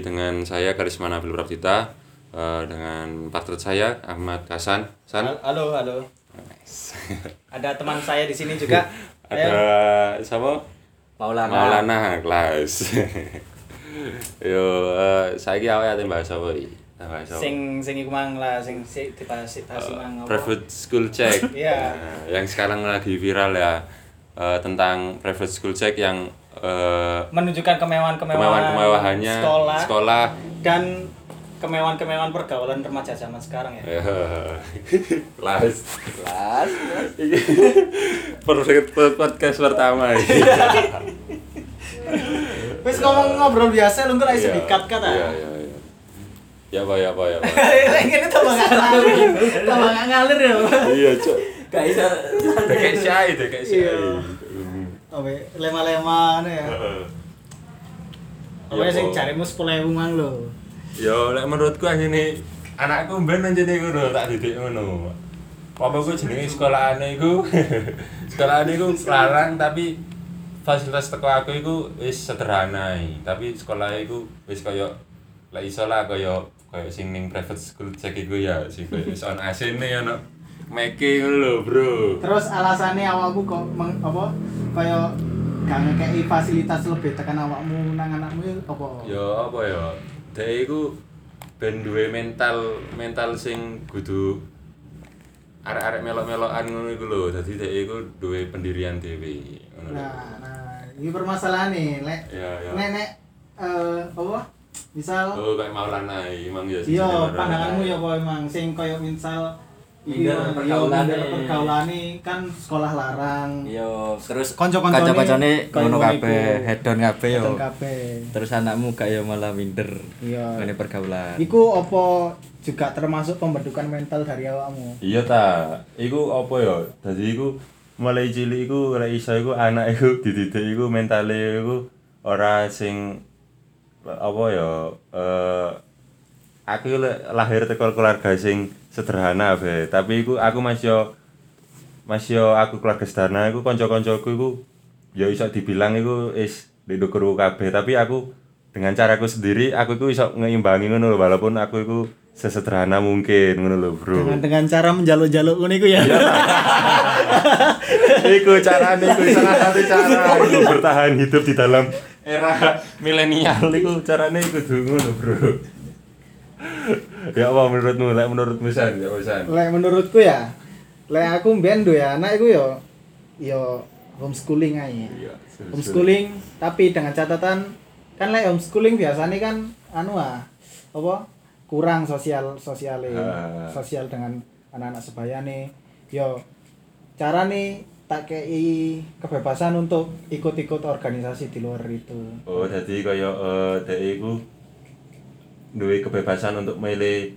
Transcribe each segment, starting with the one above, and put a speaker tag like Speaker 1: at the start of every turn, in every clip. Speaker 1: dengan saya Karisma Nabil Prabdita eh, dengan partner saya Ahmad Hasan. San,
Speaker 2: Halo, halo. Ada teman saya di sini juga. Ya,
Speaker 1: ada siapa?
Speaker 2: Maulana.
Speaker 1: Maulana kelas. Yo, eh, saiki awake ate bahasa apa iki? Ate Bahasa apa?
Speaker 2: Sing sing iku mang lah sing sing dibahas dibahas mang
Speaker 1: Eh,
Speaker 2: apa?
Speaker 1: private school check
Speaker 2: Iya.
Speaker 1: Nah, yang sekarang lagi viral ya eh, tentang private school check yang eh,
Speaker 2: Menunjukkan kemewahan-kemewahan
Speaker 1: kemewahan-kemewahannya
Speaker 2: sekolah,
Speaker 1: sekolah.
Speaker 2: dan kemewahan-kemewahan pergaulan remaja zaman sekarang ya.
Speaker 1: Eh, kelas
Speaker 3: Kelas.
Speaker 1: perfect podcast pertama ini.
Speaker 2: Wis ngomong ngobrol biasa lu nggak iso
Speaker 1: eh, Iya,
Speaker 2: dikat kan, ah? kata.
Speaker 1: Iya, iya, iya. Ya Pak, ya Pak, ya Pak.
Speaker 2: Lagi ini tambah nggak ngalir, tambah nggak ngalir ya. Pak.
Speaker 1: Iya, Cok.
Speaker 3: Gak bisa.
Speaker 1: Udah kayak syai, udah kayak syai.
Speaker 2: Iya.
Speaker 1: Hmm.
Speaker 2: Oke, lema-lema nih ya.
Speaker 1: Iya,
Speaker 2: Pokoknya sing
Speaker 1: Pak.
Speaker 2: carimu sepuluh ewu mang lo.
Speaker 1: Yo, lek menurutku anjene anakku mben anjene ngono tak didik ngono. Apa ku jenenge sekolahane iku? sekolahane iku larang tapi fasilitas teko aku iku wis sederhana, ae. tapi sekolahnya iku wis kaya lek iso lah kaya kaya sing ning private school cek iku ya sing kaya wis on asine ana meke ngono lho, Bro.
Speaker 2: Terus alasannya awakmu kok meng, apa kaya gak ngekei fasilitas lebih tekan awakmu nang anakmu ya apa?
Speaker 1: Ya apa ya? Dhek iku ben duwe mental mental sing kudu arek-arek melok-melokan ngono iku lho. Dadi dhek iku duwe pendirian dhewe. Ngono lho.
Speaker 2: Nah, nah, ini permasalahan nih, lek
Speaker 1: Iya, iya.
Speaker 2: nenek eh apa? Misal
Speaker 1: Oh, kayak Maulana iki mang ya. sing
Speaker 2: iya
Speaker 1: jenenge Maulana.
Speaker 2: pandanganmu ya apa emang sing kaya misal iki
Speaker 3: Minder
Speaker 2: yo,
Speaker 3: pergaulane.
Speaker 2: minder pergaulane kan sekolah larang.
Speaker 3: Yo, Iya, terus
Speaker 2: Kanca-kancane
Speaker 3: kanca-kancane
Speaker 2: kaya
Speaker 3: ngono
Speaker 2: ngono
Speaker 3: kabeh,
Speaker 2: iku.
Speaker 3: head down kabeh
Speaker 1: Iya.
Speaker 3: yo.
Speaker 2: Dan kabeh.
Speaker 3: Terus anakmu gak yo malah minder.
Speaker 2: Iya.
Speaker 3: Ngene pergaulan.
Speaker 2: Iku apa juga termasuk pembentukan mental dari awakmu?
Speaker 1: Iya ta. Iku apa ya? Dadi iku mulai cilik iku ora iso iku anak iku dididik iku mentale iku ora sing apa ya eh aku le- lahir teko keluarga sing sederhana be, tapi iku aku masih yo masih yo aku keluarga sederhana iku kanca-kancaku iku ya iso dibilang iku is ndukuru kabeh, tapi aku dengan caraku sendiri aku iku iso ngeimbangi ngono lho walaupun aku iku sesederhana mungkin ngono lho, Bro. Iya,
Speaker 2: Dengan dengan cara menjaluk-jaluk ngono iku ya.
Speaker 1: Iku carane iku salah satu cara iku bertahan hidup di dalam era milenial iku carane iku ngono, Bro. ya apa menurutmu? Lek menurutmu san, ya apa, san.
Speaker 2: Lek menurutku ya, lek aku mbien duwe anak iku yo yo homeschooling aja.
Speaker 1: Iya, homeschooling.
Speaker 2: homeschooling tapi dengan catatan kan lek homeschooling biasanya kan anu ah apa kurang sosial sosiale
Speaker 1: Ah.
Speaker 2: sosial dengan anak-anak sebayane. Yo cara nih tak kei kebebasan untuk ikut-ikut organisasi di luar itu.
Speaker 1: Oh, jadi kaya eh dhek iku duwe kebebasan untuk milih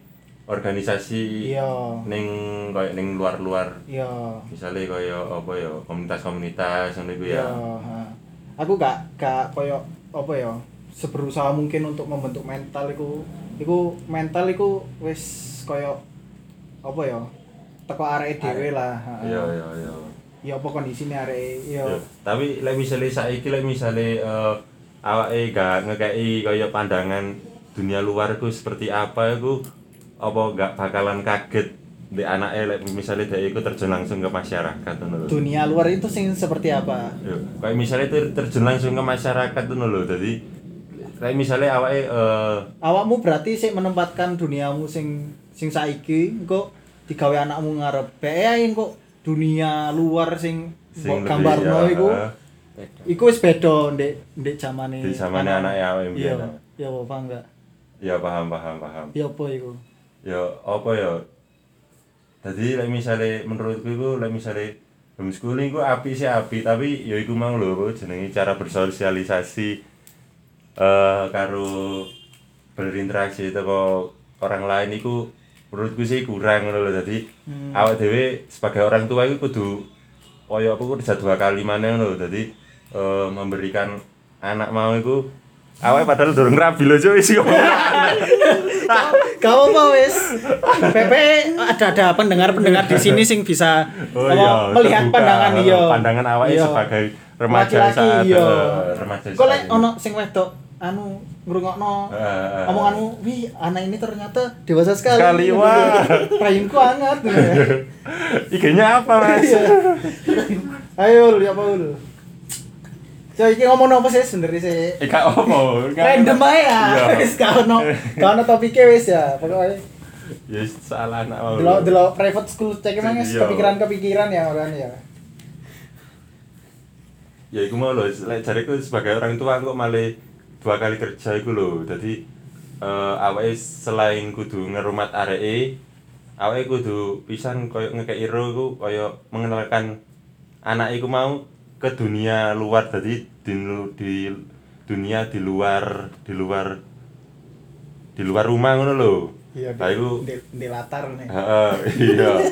Speaker 1: organisasi
Speaker 2: Iya.
Speaker 1: ning kaya ning luar-luar.
Speaker 2: Yo
Speaker 1: Misalnya kaya apa ya komunitas-komunitas ngono iku ya.
Speaker 2: ha. Aku gak gak koyo apa ya? Seberusaha mungkin untuk membentuk mental iku. Iku mental iku wis koyo apa ya? Teko arek dhewe lah. ha.
Speaker 1: Iya, iya, iya.
Speaker 2: Ya apa kondisine arek ya.
Speaker 1: Yo, tapi lek misale saiki lek misale eh, awake gak ngekeki kaya pandangan dunia luar ku seperti apa iku apa gak bakalan kaget di anake lek misale dhek iku terjun langsung ke masyarakat ngono lho.
Speaker 2: Dunia luar itu sing seperti apa?
Speaker 1: Yo, Kayak misale ter- terjun langsung ke masyarakat ngono lho. Dadi lek misale awake eh,
Speaker 2: Awakmu berarti sik menempatkan duniamu sing sing saiki engko digawe anakmu ngarep. Bae engko dunia luar sing
Speaker 1: sing
Speaker 2: mbok gambarno
Speaker 1: ya,
Speaker 2: iku
Speaker 1: eh,
Speaker 2: Iku wis beda ndek ndek zamane.
Speaker 1: Ndek zamane anake awake mbiyen.
Speaker 2: Iya, iya apa enggak?
Speaker 1: ya paham paham paham.
Speaker 2: Ya apa iku?
Speaker 1: ya apa ya jadi lek misale menurutku iku lek misale homeschooling iku api sih api tapi ya iku mau lho apa jenenge cara bersosialisasi eh karo berinteraksi teko orang lain iku menurutku sih kurang ngono lho dadi awak dhewe sebagai orang tua iku kudu koyo apa kudu dua kali maneh ngono lho dadi eh, memberikan anak mau iku awake padahal durung rabi lho cuy sih
Speaker 2: Kau apa wis? PP ada ada pendengar-pendengar di sini sing bisa
Speaker 1: Oh
Speaker 2: apa,
Speaker 1: iya,
Speaker 2: melihat
Speaker 1: terbuka.
Speaker 2: pandangan iya.
Speaker 1: Pandangan awake
Speaker 2: Iya.
Speaker 1: sebagai remaja
Speaker 2: Laki-laki,
Speaker 1: saat,
Speaker 2: iya.
Speaker 1: eh, remaja
Speaker 2: Kok lek
Speaker 1: saat ini.
Speaker 2: ono sing wedok anu ngrungokno
Speaker 1: Eh,
Speaker 4: Heeh.
Speaker 2: omonganmu wih anak ini ternyata dewasa sekali
Speaker 4: Eh. Sekali, wah.
Speaker 2: rahimku hangat gitu ya.
Speaker 4: IG-nya apa mas?
Speaker 2: Iya. ayo ya Paul coy ini ngomong apa sih sebenarnya sih
Speaker 4: Ika opo?
Speaker 2: random aja ya
Speaker 4: Iya.
Speaker 2: wis gak ono gak ono topiknya wis ya pokoknya
Speaker 4: Ya salah anak mau.
Speaker 2: delok delok private school cek emang
Speaker 4: Iya.
Speaker 2: kepikiran kepikiran ya orang ya
Speaker 4: ya iku mau lho lek jariku sebagai orang tua kok malah dua kali kerja iku lho dadi eh awake selain kudu ngerumat areke awake kudu pisan koyo ngekeki ro iku koyo mengenalkan anak iku mau ke dunia luar dadi di, lu- di dunia di luar di luar di luar rumah ngono lho Nah, iku-
Speaker 2: di, di latar nih
Speaker 4: Heeh, Ah, iya.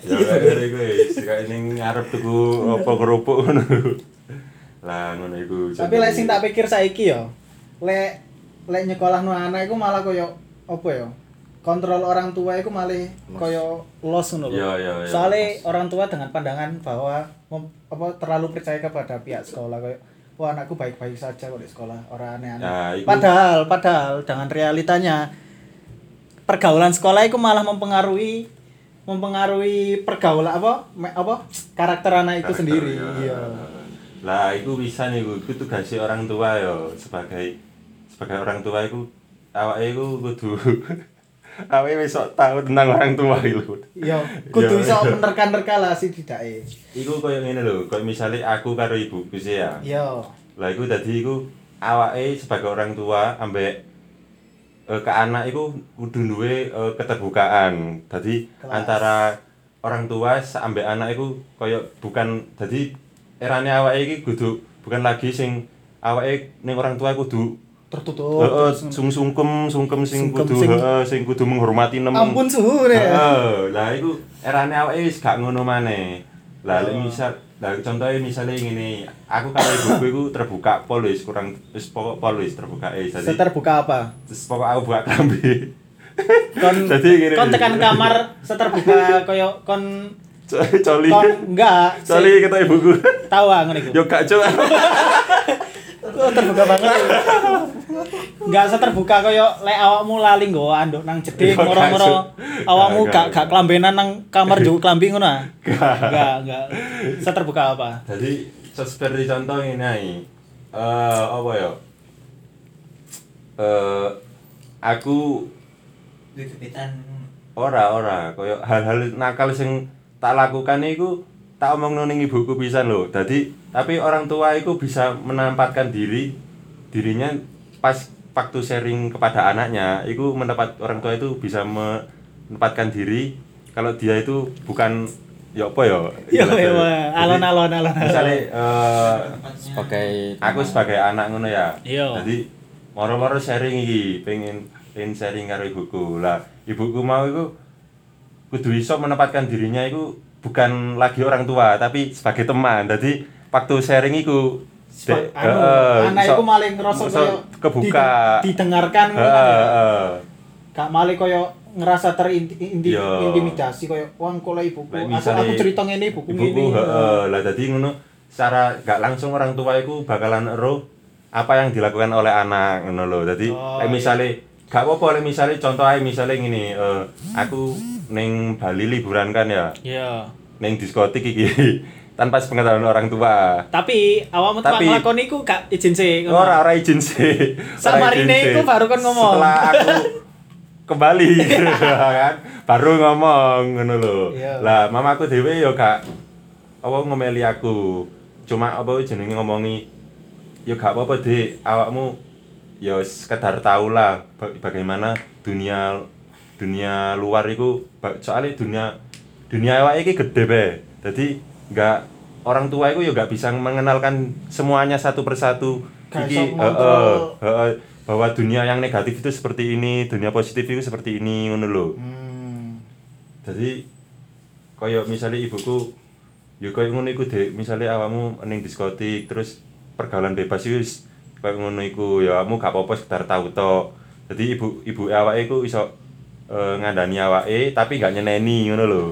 Speaker 4: Ya ngene iku wis kayak ning ngarep tuku apa kerupuk ngono. Lah ngono iku.
Speaker 2: tapi lek sing tak pikir saiki yo lek lek nyekolahno anak iku malah koyo apa yo kontrol orang tua iku malah koyo los ngono lho.
Speaker 4: Iya, iya, iya.
Speaker 2: Soale orang tua dengan pandangan bahwa mem- apa terlalu percaya kepada pihak sekolah koyo wah anakku baik-baik saja kok di sekolah, ora aneh-aneh.
Speaker 4: Nah, iku-
Speaker 2: Padahal, padahal dengan realitanya pergaulan sekolah itu malah mempengaruhi mempengaruhi pergaulan apa me- apa karakter anak itu sendiri.
Speaker 4: ya.
Speaker 2: Iya.
Speaker 4: Lah iku bisa iku iku tugase orang tua yo sebagai sebagai orang tua iku awake iku kudu awake wis sok tau tentang orang tua iku.
Speaker 2: Iya, kudu
Speaker 4: Iya,
Speaker 2: iso
Speaker 4: iya.
Speaker 2: menerka-nerka lah sih didake.
Speaker 4: Iku koyo ngene lho, koyo misale aku karo ibuku sih ya.
Speaker 2: Iya.
Speaker 4: lah iku dadi iku awake sebagai orang tua ambek eh, ke anak iku kudu duwe eh, keterbukaan dadi
Speaker 2: Kelas.
Speaker 4: antara orang tua sa- ambek anak iku koyo bukan dadi erane awake iki kudu bukan lagi sing awake ning orang tua kudu
Speaker 2: Tertutup.
Speaker 4: heeh
Speaker 2: Oh, terus-
Speaker 4: sung sungkem sungkem sing
Speaker 2: Sungkem
Speaker 4: kudu
Speaker 2: sing-
Speaker 4: heeh, sing kudu menghormati nem
Speaker 2: Ampun suhu nih. ya.
Speaker 4: Heeh, lah iku erane awake wis gak ngono maneh. Lah lek
Speaker 2: Oh.
Speaker 4: misal lah contohnya misalnya ngene, aku karo ibuku iku terbuka pol wis kurang wis pokok pol wis terbuka eh jadi
Speaker 2: Seterbuka apa?
Speaker 4: wis pokok aku buka kambi.
Speaker 2: kon
Speaker 4: Jadi gini.
Speaker 2: kon tekan kamar seterbuka koyo kon
Speaker 4: Co- Coli.
Speaker 2: kon enggak
Speaker 4: Coli
Speaker 2: sih.
Speaker 4: kata ibuku.
Speaker 2: tahu ah ngono iku
Speaker 4: Yo gak cuk.
Speaker 2: Oh, terbuka banget enggak seterbuka koyo lek awakmu lali nggo anduk nang jeding
Speaker 4: Iya, gak,
Speaker 2: moro-moro
Speaker 4: Cuk.
Speaker 2: awakmu
Speaker 4: Gak,
Speaker 2: gak
Speaker 4: gak.
Speaker 2: gak kelambenan nang kamar jauh kelambi ngono ah enggak enggak seterbuka apa
Speaker 4: Jadi so- seperti contoh ini ae. Eh apa ya? Eh aku
Speaker 5: Gegetan.
Speaker 4: ora ora koyo hal-hal nakal sing tak lakukan iku tak omongno ning ibuku pisan lho dadi tapi orang tua iku bisa menampatkan diri dirinya pas waktu sharing kepada anaknya iku mendapat orang tua itu bisa menempatkan diri kalau dia itu bukan ya apa ya
Speaker 2: yo
Speaker 4: Jadi,
Speaker 2: yo alon-alon alon
Speaker 4: misalnya eh,
Speaker 3: Sebagai
Speaker 4: aku sebagai anak ngono ya
Speaker 2: Iya.
Speaker 4: jadi moro-moro sharing iki pengen pengen sharing karo ibuku lah ibuku mau iku kudu iso menempatkan dirinya iku bukan lagi orang tua tapi sebagai teman jadi waktu sharing iku
Speaker 2: Seba-
Speaker 4: dek-
Speaker 2: anu,
Speaker 4: eh,
Speaker 2: anak
Speaker 4: iso-
Speaker 2: iku malah ngerasa
Speaker 4: iso
Speaker 2: koyo
Speaker 4: kebuka Eh,
Speaker 2: diden- didengarkan ngono
Speaker 4: Heeh,
Speaker 2: ya.
Speaker 4: heeh.
Speaker 2: gak malah koyo ngerasa
Speaker 4: Iya.
Speaker 2: terintimidasi koyo wong kok lek ibuku
Speaker 4: Lek
Speaker 2: aku,
Speaker 4: misale-
Speaker 2: aku cerita ngene ibuku ngene
Speaker 4: ibuku heeh lah dadi ngono secara gak langsung orang tua iku bakalan ero apa yang dilakukan oleh anak ngono lho dadi
Speaker 2: Oh,
Speaker 4: lek
Speaker 2: iya.
Speaker 4: misale gak apa-apa lek misale contoh ae misale ngene eh, aku ning Bali liburan kan ya
Speaker 2: iya
Speaker 4: ning diskotik iki tanpa sepengetahuan orang tua
Speaker 2: Tapi awakmu tepak
Speaker 4: Tapi-
Speaker 2: nglakoni iku gak izin sih. ngono.
Speaker 4: Oh, ora ora izin sih Ora izin
Speaker 2: Samarine
Speaker 4: sih.
Speaker 2: iku baru kan ngomong.
Speaker 4: setelah aku kembali kan baru ngomong ngono lho
Speaker 2: Iya.
Speaker 4: lah mamaku dhewe yo gak apa ngomeli aku cuma apa jenenge ngomongi yo gak apa-apa Dik awakmu yo sekedar tau lah ba- bagaimana dunia dunia luar iku ba- soalnya dunia dunia awake iki gede be jadi nggak orang tua iku yo gak bisa mengenalkan semuanya satu persatu
Speaker 2: Gak
Speaker 4: iki
Speaker 2: iso
Speaker 4: heeh
Speaker 2: mengontrol.
Speaker 4: heeh bahwa dunia yang negatif itu seperti ini dunia positif itu seperti ini ngono lho
Speaker 2: Hmm.
Speaker 4: jadi kaya misalnya ibuku ya kaya ngono iku dek misalnya awamu ning diskotik terus pergaulan bebas iku wis kaya ngono iku ya kamu gak apa-apa sekedar tau tok jadi ibu ibu awake iku iso eh, ngandani awake tapi gak nyeneni ngono lho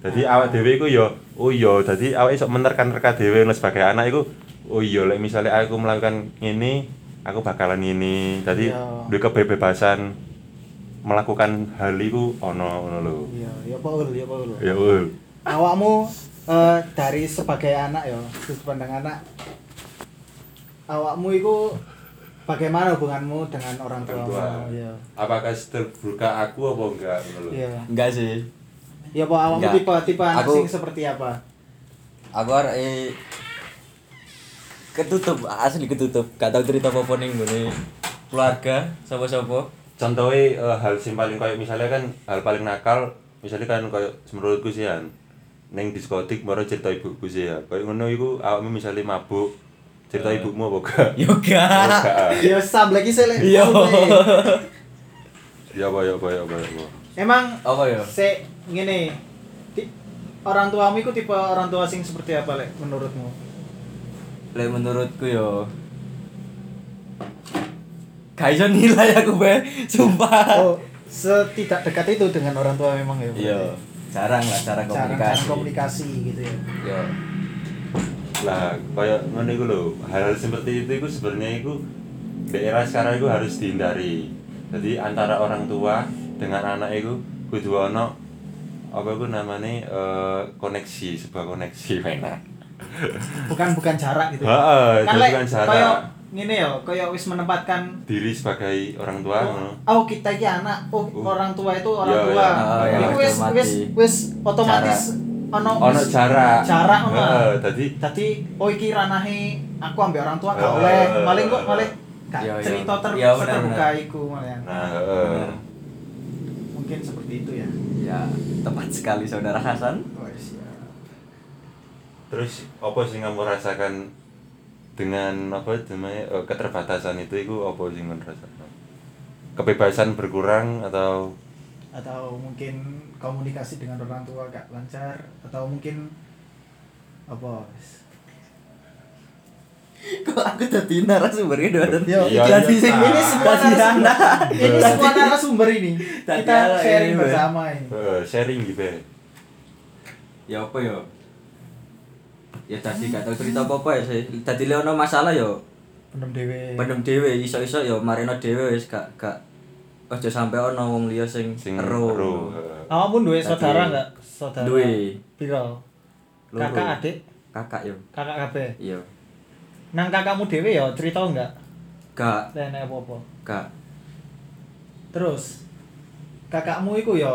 Speaker 4: jadi awak dhewe iku ya oh iya jadi awake iso menerka-nerka dhewe ngono sebagai anak iku oh iya lek misalnya aku melakukan ngene aku bakalan ini tadi
Speaker 2: Iya.
Speaker 4: duwe kebebasan melakukan hal iku ono ngono lho
Speaker 2: Iya, ya Paul, ya Paul.
Speaker 4: ya ul
Speaker 2: Awakmu eh, dari sebagai anak ya, sudut pandang anak. Awakmu itu bagaimana hubunganmu dengan orang
Speaker 4: Orang
Speaker 2: tuamu?
Speaker 4: tua.
Speaker 2: Iya.
Speaker 4: apakah terbuka aku apa enggak ngono lho
Speaker 2: Iya.
Speaker 3: Enggak sih.
Speaker 2: Ya Pak, awakmu
Speaker 3: Enggak.
Speaker 2: tipe-tipe anak
Speaker 3: Aku-
Speaker 2: sing seperti apa?
Speaker 3: Aku arek e ketutup, asli ketutup. Gak tau cerita apa-apa ning nggone keluarga sapa-sapa.
Speaker 4: contohnya eh, hal sing paling kayak misalnya kan hal paling nakal misalnya kan kayak menurutku sih kan neng diskotik baru cerita ibuku sih ya kayak ngono iku awakmu misalnya mabuk cerita ibumu apa enggak
Speaker 3: Yoga.
Speaker 4: Enggak.
Speaker 2: Ya sam lagi saya lagi.
Speaker 3: Iya.
Speaker 4: ya apa ya apa ya apa ya apa
Speaker 2: Emang
Speaker 3: Apa ya?
Speaker 2: se ngene. ti- orang tuamu itu tipe orang tua sing seperti apa lek menurutmu?
Speaker 3: Lek menurutku yo Gak iso nilai aku be, sumpah.
Speaker 2: Oh, setidak dekat itu dengan orang tua memang ya. berarti?
Speaker 3: Yo, Iya, jarang lah cara
Speaker 2: Jarang-
Speaker 3: komunikasi.
Speaker 2: jarang komunikasi gitu ya.
Speaker 3: Yo.
Speaker 4: lah kayak ngono iku lho hal seperti itu iku sebenarnya iku daerah sekarang iku harus dihindari jadi antara orang tua dengan anak iku kudu ono apa iku namanya eh, koneksi sebuah koneksi enak
Speaker 2: Bukan bukan jarak gitu. ya.
Speaker 4: Heeh,
Speaker 2: Kan
Speaker 4: jadi
Speaker 2: lek
Speaker 4: kan jarak
Speaker 2: koyo ngene yo, koyo wis menempatkan
Speaker 4: diri sebagai orang tua ngono.
Speaker 2: Oh, kita iki anak. Oh,
Speaker 4: Uh.
Speaker 2: orang tua itu orang
Speaker 4: Iya,
Speaker 2: tua.
Speaker 4: iya.
Speaker 3: Oh, iya,
Speaker 2: Iku wis
Speaker 3: otomatis.
Speaker 2: wis wis otomatis ono
Speaker 4: ono
Speaker 2: wis-
Speaker 4: jarak.
Speaker 2: jarak ono.
Speaker 4: Heeh, dadi
Speaker 2: Dadi oh iki ranahe aku ambek orang tua gak
Speaker 4: Heeh.
Speaker 2: oleh. Maling kok malah gak
Speaker 3: Iya, iya.
Speaker 2: cerita ter
Speaker 3: Iya, benar,
Speaker 2: terbuka
Speaker 3: benar.
Speaker 2: iku malahan.
Speaker 4: nah heeh.
Speaker 3: Bener.
Speaker 2: Mungkin seperti itu ya.
Speaker 3: Ya, tepat sekali saudara Hasan.
Speaker 2: Wes ya.
Speaker 4: terus apa sih kamu rasakan dengan apa namanya eh, keterbatasan itu itu apa sih kamu rasakan kebebasan berkurang atau
Speaker 2: atau mungkin komunikasi dengan orang tua gak lancar atau mungkin apa wes.
Speaker 3: Kok aku tadi narasumbernya dua dan
Speaker 4: Iya, iya,
Speaker 3: Tadi
Speaker 4: iya,
Speaker 3: sing
Speaker 4: Kak.
Speaker 3: ini semua narasumber.
Speaker 2: ini semua narasumber ini
Speaker 3: Tadi
Speaker 2: kita
Speaker 3: ala
Speaker 2: sharing
Speaker 3: ini, Mbak.
Speaker 2: bersama ini
Speaker 4: eh, sharing gitu ya
Speaker 3: ya apa ya ya tadi gak tau cerita apa apa ya sih tadi leono masalah ya
Speaker 2: penem dewe
Speaker 3: pendem dewe iso iso ya marino dewe wis gak gak ojo sampe ono wong liya sing
Speaker 4: sing
Speaker 3: ero
Speaker 4: ero, eh. heeh.
Speaker 2: kamu duwe
Speaker 3: Tadi-
Speaker 2: saudara nggak saudara
Speaker 3: Duwe.
Speaker 2: piro
Speaker 3: Loro.
Speaker 2: kakak adik
Speaker 3: kakak yo
Speaker 2: kakak kabeh
Speaker 3: iya
Speaker 2: nang kakakmu dewe ya cerita nggak
Speaker 3: gak
Speaker 2: lene apa apa
Speaker 3: gak
Speaker 2: terus kakakmu iku ya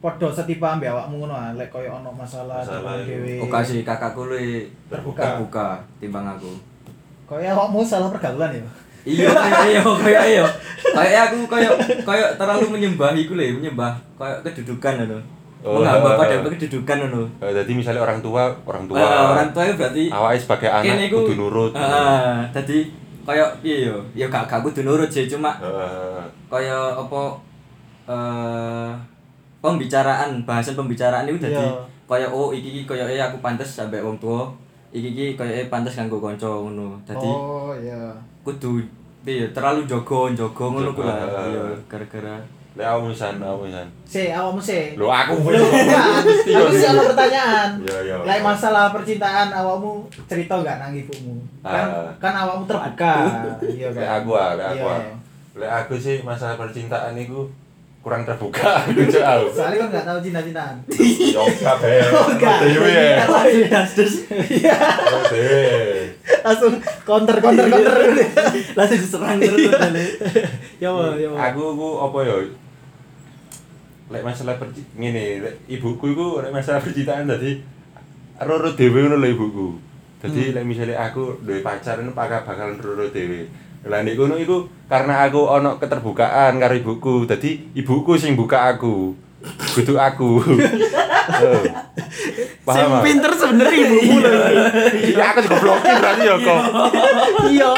Speaker 2: podo setipe ambek awakmu ngono ah, lek koyo ono masalah dengan
Speaker 4: Masalah iku.
Speaker 2: dewe
Speaker 3: kok kasih kakakku luwe
Speaker 4: Terbuka.
Speaker 3: terbuka timbang aku
Speaker 2: koyo awakmu salah pergaulan ya
Speaker 3: iya iya iya kayak iya kayak aku kayak kayak terlalu menyembah iku lho menyembah kayak kedudukan ngono
Speaker 4: Oh,
Speaker 3: menghamba
Speaker 4: eh,
Speaker 3: pada
Speaker 4: eh.
Speaker 3: kedudukan ngono
Speaker 4: Eh, jadi misalnya orang tua orang tua
Speaker 3: Eh, orang tua itu berarti
Speaker 4: awake sebagai anak
Speaker 3: kene iku- Ah.
Speaker 4: kudu nurut
Speaker 3: Heeh, dadi kaya piye yo? Ya gak gak kudu nurut sih, cuma
Speaker 4: Heeh.
Speaker 3: kaya apa eh pembicaraan, bahasan pembicaraan itu dadi
Speaker 2: Iya.
Speaker 3: kaya oh iki iki kaya aku pantes sampe wong tua. Iki iki kaya pantes kanggo kanca ngono. Dadi
Speaker 2: oh iya
Speaker 3: kudu piye yo, terlalu jogo jogo ngono ku lah.
Speaker 4: Jaga.
Speaker 3: Iya, gara-gara
Speaker 4: lek awakmu san awakmu san
Speaker 2: Se, awakmu se.
Speaker 4: lo aku
Speaker 2: Loh, enggak. Aku sih ada pertanyaan.
Speaker 4: Iya, iya.
Speaker 2: Lain masalah percintaan awakmu cerita nggak nang ibumu?
Speaker 4: Ah.
Speaker 2: Kan kan awakmu terbuka. Iya kan.
Speaker 4: Lek aku ah, lek aku.
Speaker 2: Iya.
Speaker 4: ah. Lek aku sih masalah percintaan iku kurang terbuka aku cok aku.
Speaker 2: Soalnya kan nggak tahu cinta-cintaan.
Speaker 4: Yo kabeh.
Speaker 2: Oh, enggak.
Speaker 4: Dewe.
Speaker 2: Oh, iya. Iya.
Speaker 4: Dewe.
Speaker 2: Langsung counter counter
Speaker 4: Iya.
Speaker 2: counter.
Speaker 3: langsung diserang terus kali.
Speaker 2: Ya
Speaker 4: Oh,
Speaker 2: Allah, ya Allah.
Speaker 4: Aku ku apa ya? Lek masalah perci ngene, lek ibuku iku lek masalah percintaan dadi roro dhewe ngono lho ibuku. Jadi lek misale aku duwe pacar ngono bakal bakalan roro dhewe. Lah nek ngono iku karena aku ono keterbukaan karo ibuku. Dadi ibuku sing buka aku. Kudu aku. Eh.
Speaker 2: Sing
Speaker 4: Paham? ah?
Speaker 2: pinter sebenernya ibumu loh.
Speaker 4: Iya, aku juga blokin berarti ya kok.
Speaker 2: Iya.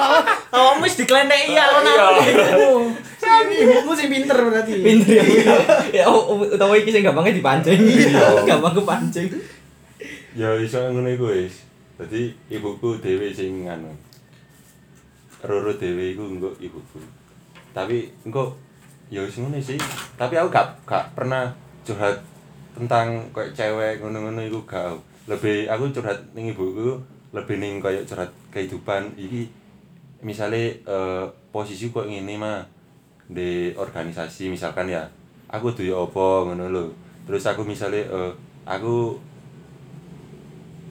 Speaker 2: Awakmu wis dikleneki
Speaker 4: Iya,
Speaker 2: ya lo nang ibumu. Sing Ibumu sing pinter berarti.
Speaker 3: Pinter ya. Ya oh, utawa iki sing gampangnya dipancing.
Speaker 4: Iya.
Speaker 3: Gampang kepancing.
Speaker 4: Ya iso ngono iku wis. Dadi ibuku dhewe sing anu. Roro dhewe iku engko ibuku. Tapi engko ya wis ngono sih. Tapi aku gak gak pernah curhat tentang kayak cewek ngono-ngono iku gak. aku. Lebih aku curhat ning ibuku lebih ning kayak curhat kehidupan iki misalnya eh, posisi kok ngene mah di organisasi misalkan ya aku tuh ya apa ngono lho terus aku misalnya eh, aku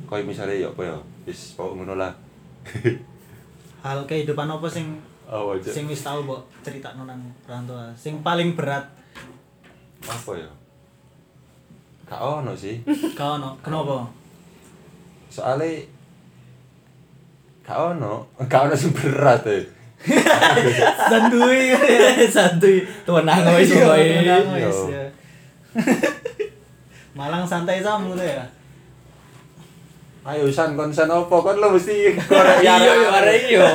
Speaker 4: koyo misalnya ya apa ya wis pokok ngono lah
Speaker 2: hal kehidupan apa sing
Speaker 4: oh aja
Speaker 2: sing wis tau mbok critakno nang Rantua sing paling berat
Speaker 4: apa ya gak ono sih
Speaker 2: kau no kenapa
Speaker 4: soalnya gak ono gak ono sing berat eh.
Speaker 2: santuy santuy tenang wis
Speaker 6: Iya,
Speaker 2: boy
Speaker 6: tenang wis,
Speaker 4: Iya.
Speaker 6: ya.
Speaker 2: malang santai sama tuh ya
Speaker 4: ayo san konsen apa kan lo mesti korek
Speaker 3: Iya, iya,
Speaker 4: arek.
Speaker 3: iya.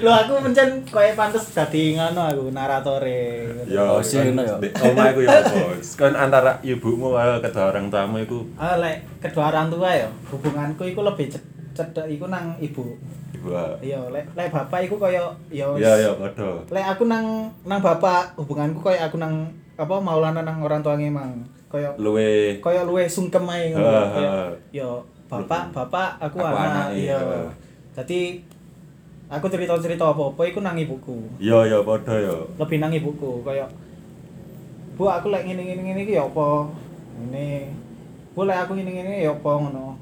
Speaker 2: lo aku mencen koyo pantes dadi ngono aku naratore
Speaker 4: Ya,
Speaker 3: Oh, sih,
Speaker 4: kan,
Speaker 3: ngono ya.
Speaker 4: di omah iku ya apa? Kan antara ibumu karo kedua orang tamu iku
Speaker 2: ah lek kedua orang tua ya hubunganku iku lebih ced- cedek iku nang ibu
Speaker 4: ibu. ah.
Speaker 2: iya lek lek bapak iku koyo ya wis.
Speaker 4: Ya ya padha.
Speaker 2: lek aku nang nang bapak hubunganku koyo aku nang apa maulana nang orang tuane mang koyo
Speaker 4: Luwe
Speaker 2: koyo luwe sungkem ae ngono
Speaker 4: Ha, ha.
Speaker 2: Koyo, yo bapak bapak aku,
Speaker 4: Aku
Speaker 2: anak
Speaker 4: anake,
Speaker 2: iya
Speaker 4: ha.
Speaker 2: dadi aku cerita-cerita apa-apa iku nang ibuku
Speaker 4: ya ya padha ya.
Speaker 2: lebih nang ibuku koyo Bu aku lek ngene ngene ngene iki ya apa? Ngene. Bu lek aku ngene ngene ya apa ngono.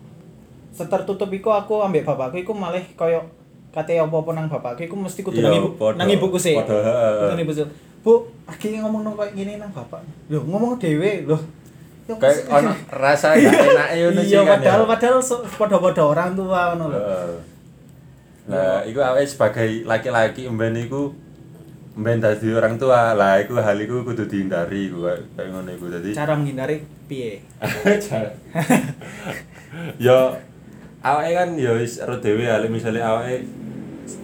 Speaker 2: Setertutup iku aku ambek bapakku iku malih koyo kate apa-apa nang bapakku iku mesti kudu nang
Speaker 4: Iya,
Speaker 2: ibu
Speaker 4: padha.
Speaker 2: nang ibuku sih.
Speaker 4: Padha, heeh.
Speaker 2: Kudu nang ibu sih. Bu, akhirnya ngomong nang koyo ngene nang bapak. Lho, ngomong dhewe lho. Ya,
Speaker 4: Kayak
Speaker 2: maksudnya-
Speaker 4: ono rasa gak enak ya ngono
Speaker 2: Iya, padahal padahal so- padha-padha orang tua ngono lho.
Speaker 4: Nah, iku awake sebagai laki-laki mben iku mben dadi orang tua. Lah iku hal iku kudu dihindari iku kayak kayak ngono iku dadi.
Speaker 2: Cara menghindari piye?
Speaker 4: Cara- ya awake kan ya wis ero dhewe ya Lek misale awake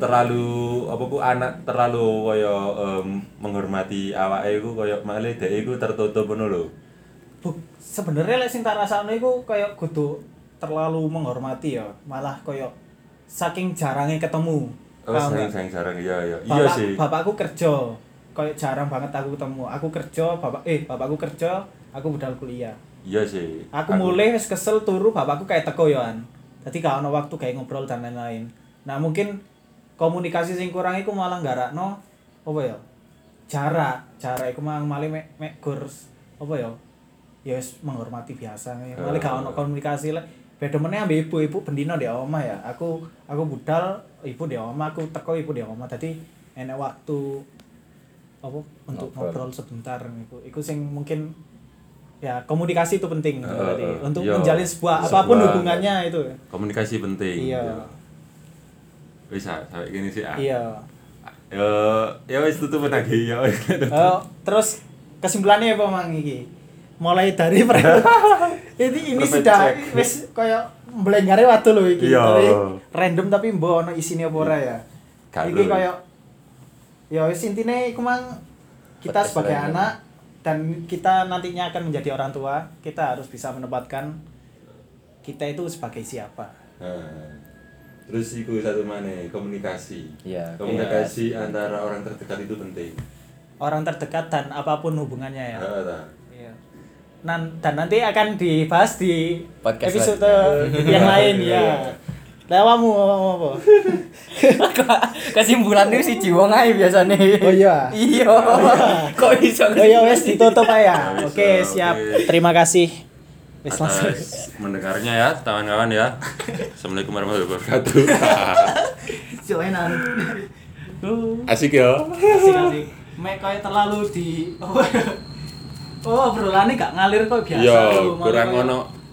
Speaker 4: terlalu apa ku anak terlalu kaya em, menghormati awake iku kaya male dhek iku tertutup ngono lho.
Speaker 2: Bu, sebenarnya lek sing tak rasakno iku kaya kudu terlalu menghormati ya, malah kaya saking jarangnya ketemu.
Speaker 4: Oh,
Speaker 2: Paham nggak?
Speaker 4: sering sering jarang iya iya. Iya
Speaker 2: Bapak,
Speaker 4: sih.
Speaker 2: Bapakku kerja. Kaya jarang banget aku ketemu. Aku kerja, bapak eh bapakku kerja, aku budal kuliah.
Speaker 4: Iya sih.
Speaker 2: Aku, mulai wis kesel turu bapakku kayak teko yoan. Dadi gak ono waktu kayak ngobrol dan lain-lain. Nah, mungkin komunikasi sing kurang iku malah nggarakno apa ya? Jarak, jarak iku malah malah mek mek gur apa ya? Ya wis menghormati biasa ya. Malah gak ono komunikasi lek beda meneh ambek ibu-ibu bendino di omah ya. Aku aku budal ibu di omah, aku teko ibu di omah. Dadi enek waktu apa untuk ngobrol,
Speaker 4: Ngobrol.
Speaker 2: sebentar iku. Iku sing mungkin ya komunikasi itu penting gitu,
Speaker 4: Heeh,
Speaker 2: tadi.
Speaker 4: heeh.
Speaker 2: untuk
Speaker 4: Iya.
Speaker 2: menjalin sebuah apapun
Speaker 4: Sebuah-
Speaker 2: hubungannya itu
Speaker 4: komunikasi penting.
Speaker 2: Iya.
Speaker 4: Wis ah, sampai gini sih. ah.
Speaker 2: iya
Speaker 4: Ya ya wis tutup lagi ya. wis.
Speaker 2: Eh, terus kesimpulannya apa mang iki mulai dari per- ini ini
Speaker 4: Perfect
Speaker 2: sudah
Speaker 4: check.
Speaker 2: wis koyo mblengare waktu lho iki
Speaker 4: Iya.
Speaker 2: tapi random tapi mbok ono isine apa ora ya
Speaker 4: Gak
Speaker 2: iki
Speaker 4: lho.
Speaker 2: koyo ya wis intine iku mang kita
Speaker 4: Podcast
Speaker 2: sebagai
Speaker 4: random.
Speaker 2: anak dan kita nantinya akan menjadi orang tua kita harus bisa menempatkan kita itu sebagai siapa
Speaker 4: Nah, terus iku satu mana komunikasi
Speaker 3: Iya,
Speaker 4: komunikasi antara orang terdekat itu penting
Speaker 2: orang terdekat dan apapun hubungannya ya
Speaker 4: Ah, ah.
Speaker 2: Iya. Nan dan nanti akan dibahas di
Speaker 3: Podcast
Speaker 2: episode yang lain ya. Lewamu ngomong apa?
Speaker 3: Kesimpulan itu si jiwa ngai biasanya.
Speaker 2: Oh iya.
Speaker 3: Iya. Kok bisa
Speaker 2: Oh ya wes ditutup ya.
Speaker 4: Ya, wes,
Speaker 2: Oke,
Speaker 4: ya,
Speaker 2: siap.
Speaker 4: oke.
Speaker 2: Terima kasih. Wes langsung.
Speaker 4: atas mendengarnya ya kawan-kawan ya assalamualaikum warahmatullahi wabarakatuh
Speaker 2: Joinan.
Speaker 4: asik ya
Speaker 2: Kasih kasih. Mek koyo terlalu di Oh, obrolannya gak ngalir kok biasa. ya.
Speaker 4: iya
Speaker 2: lho. Malah
Speaker 4: kurang
Speaker 2: koyo-
Speaker 4: ono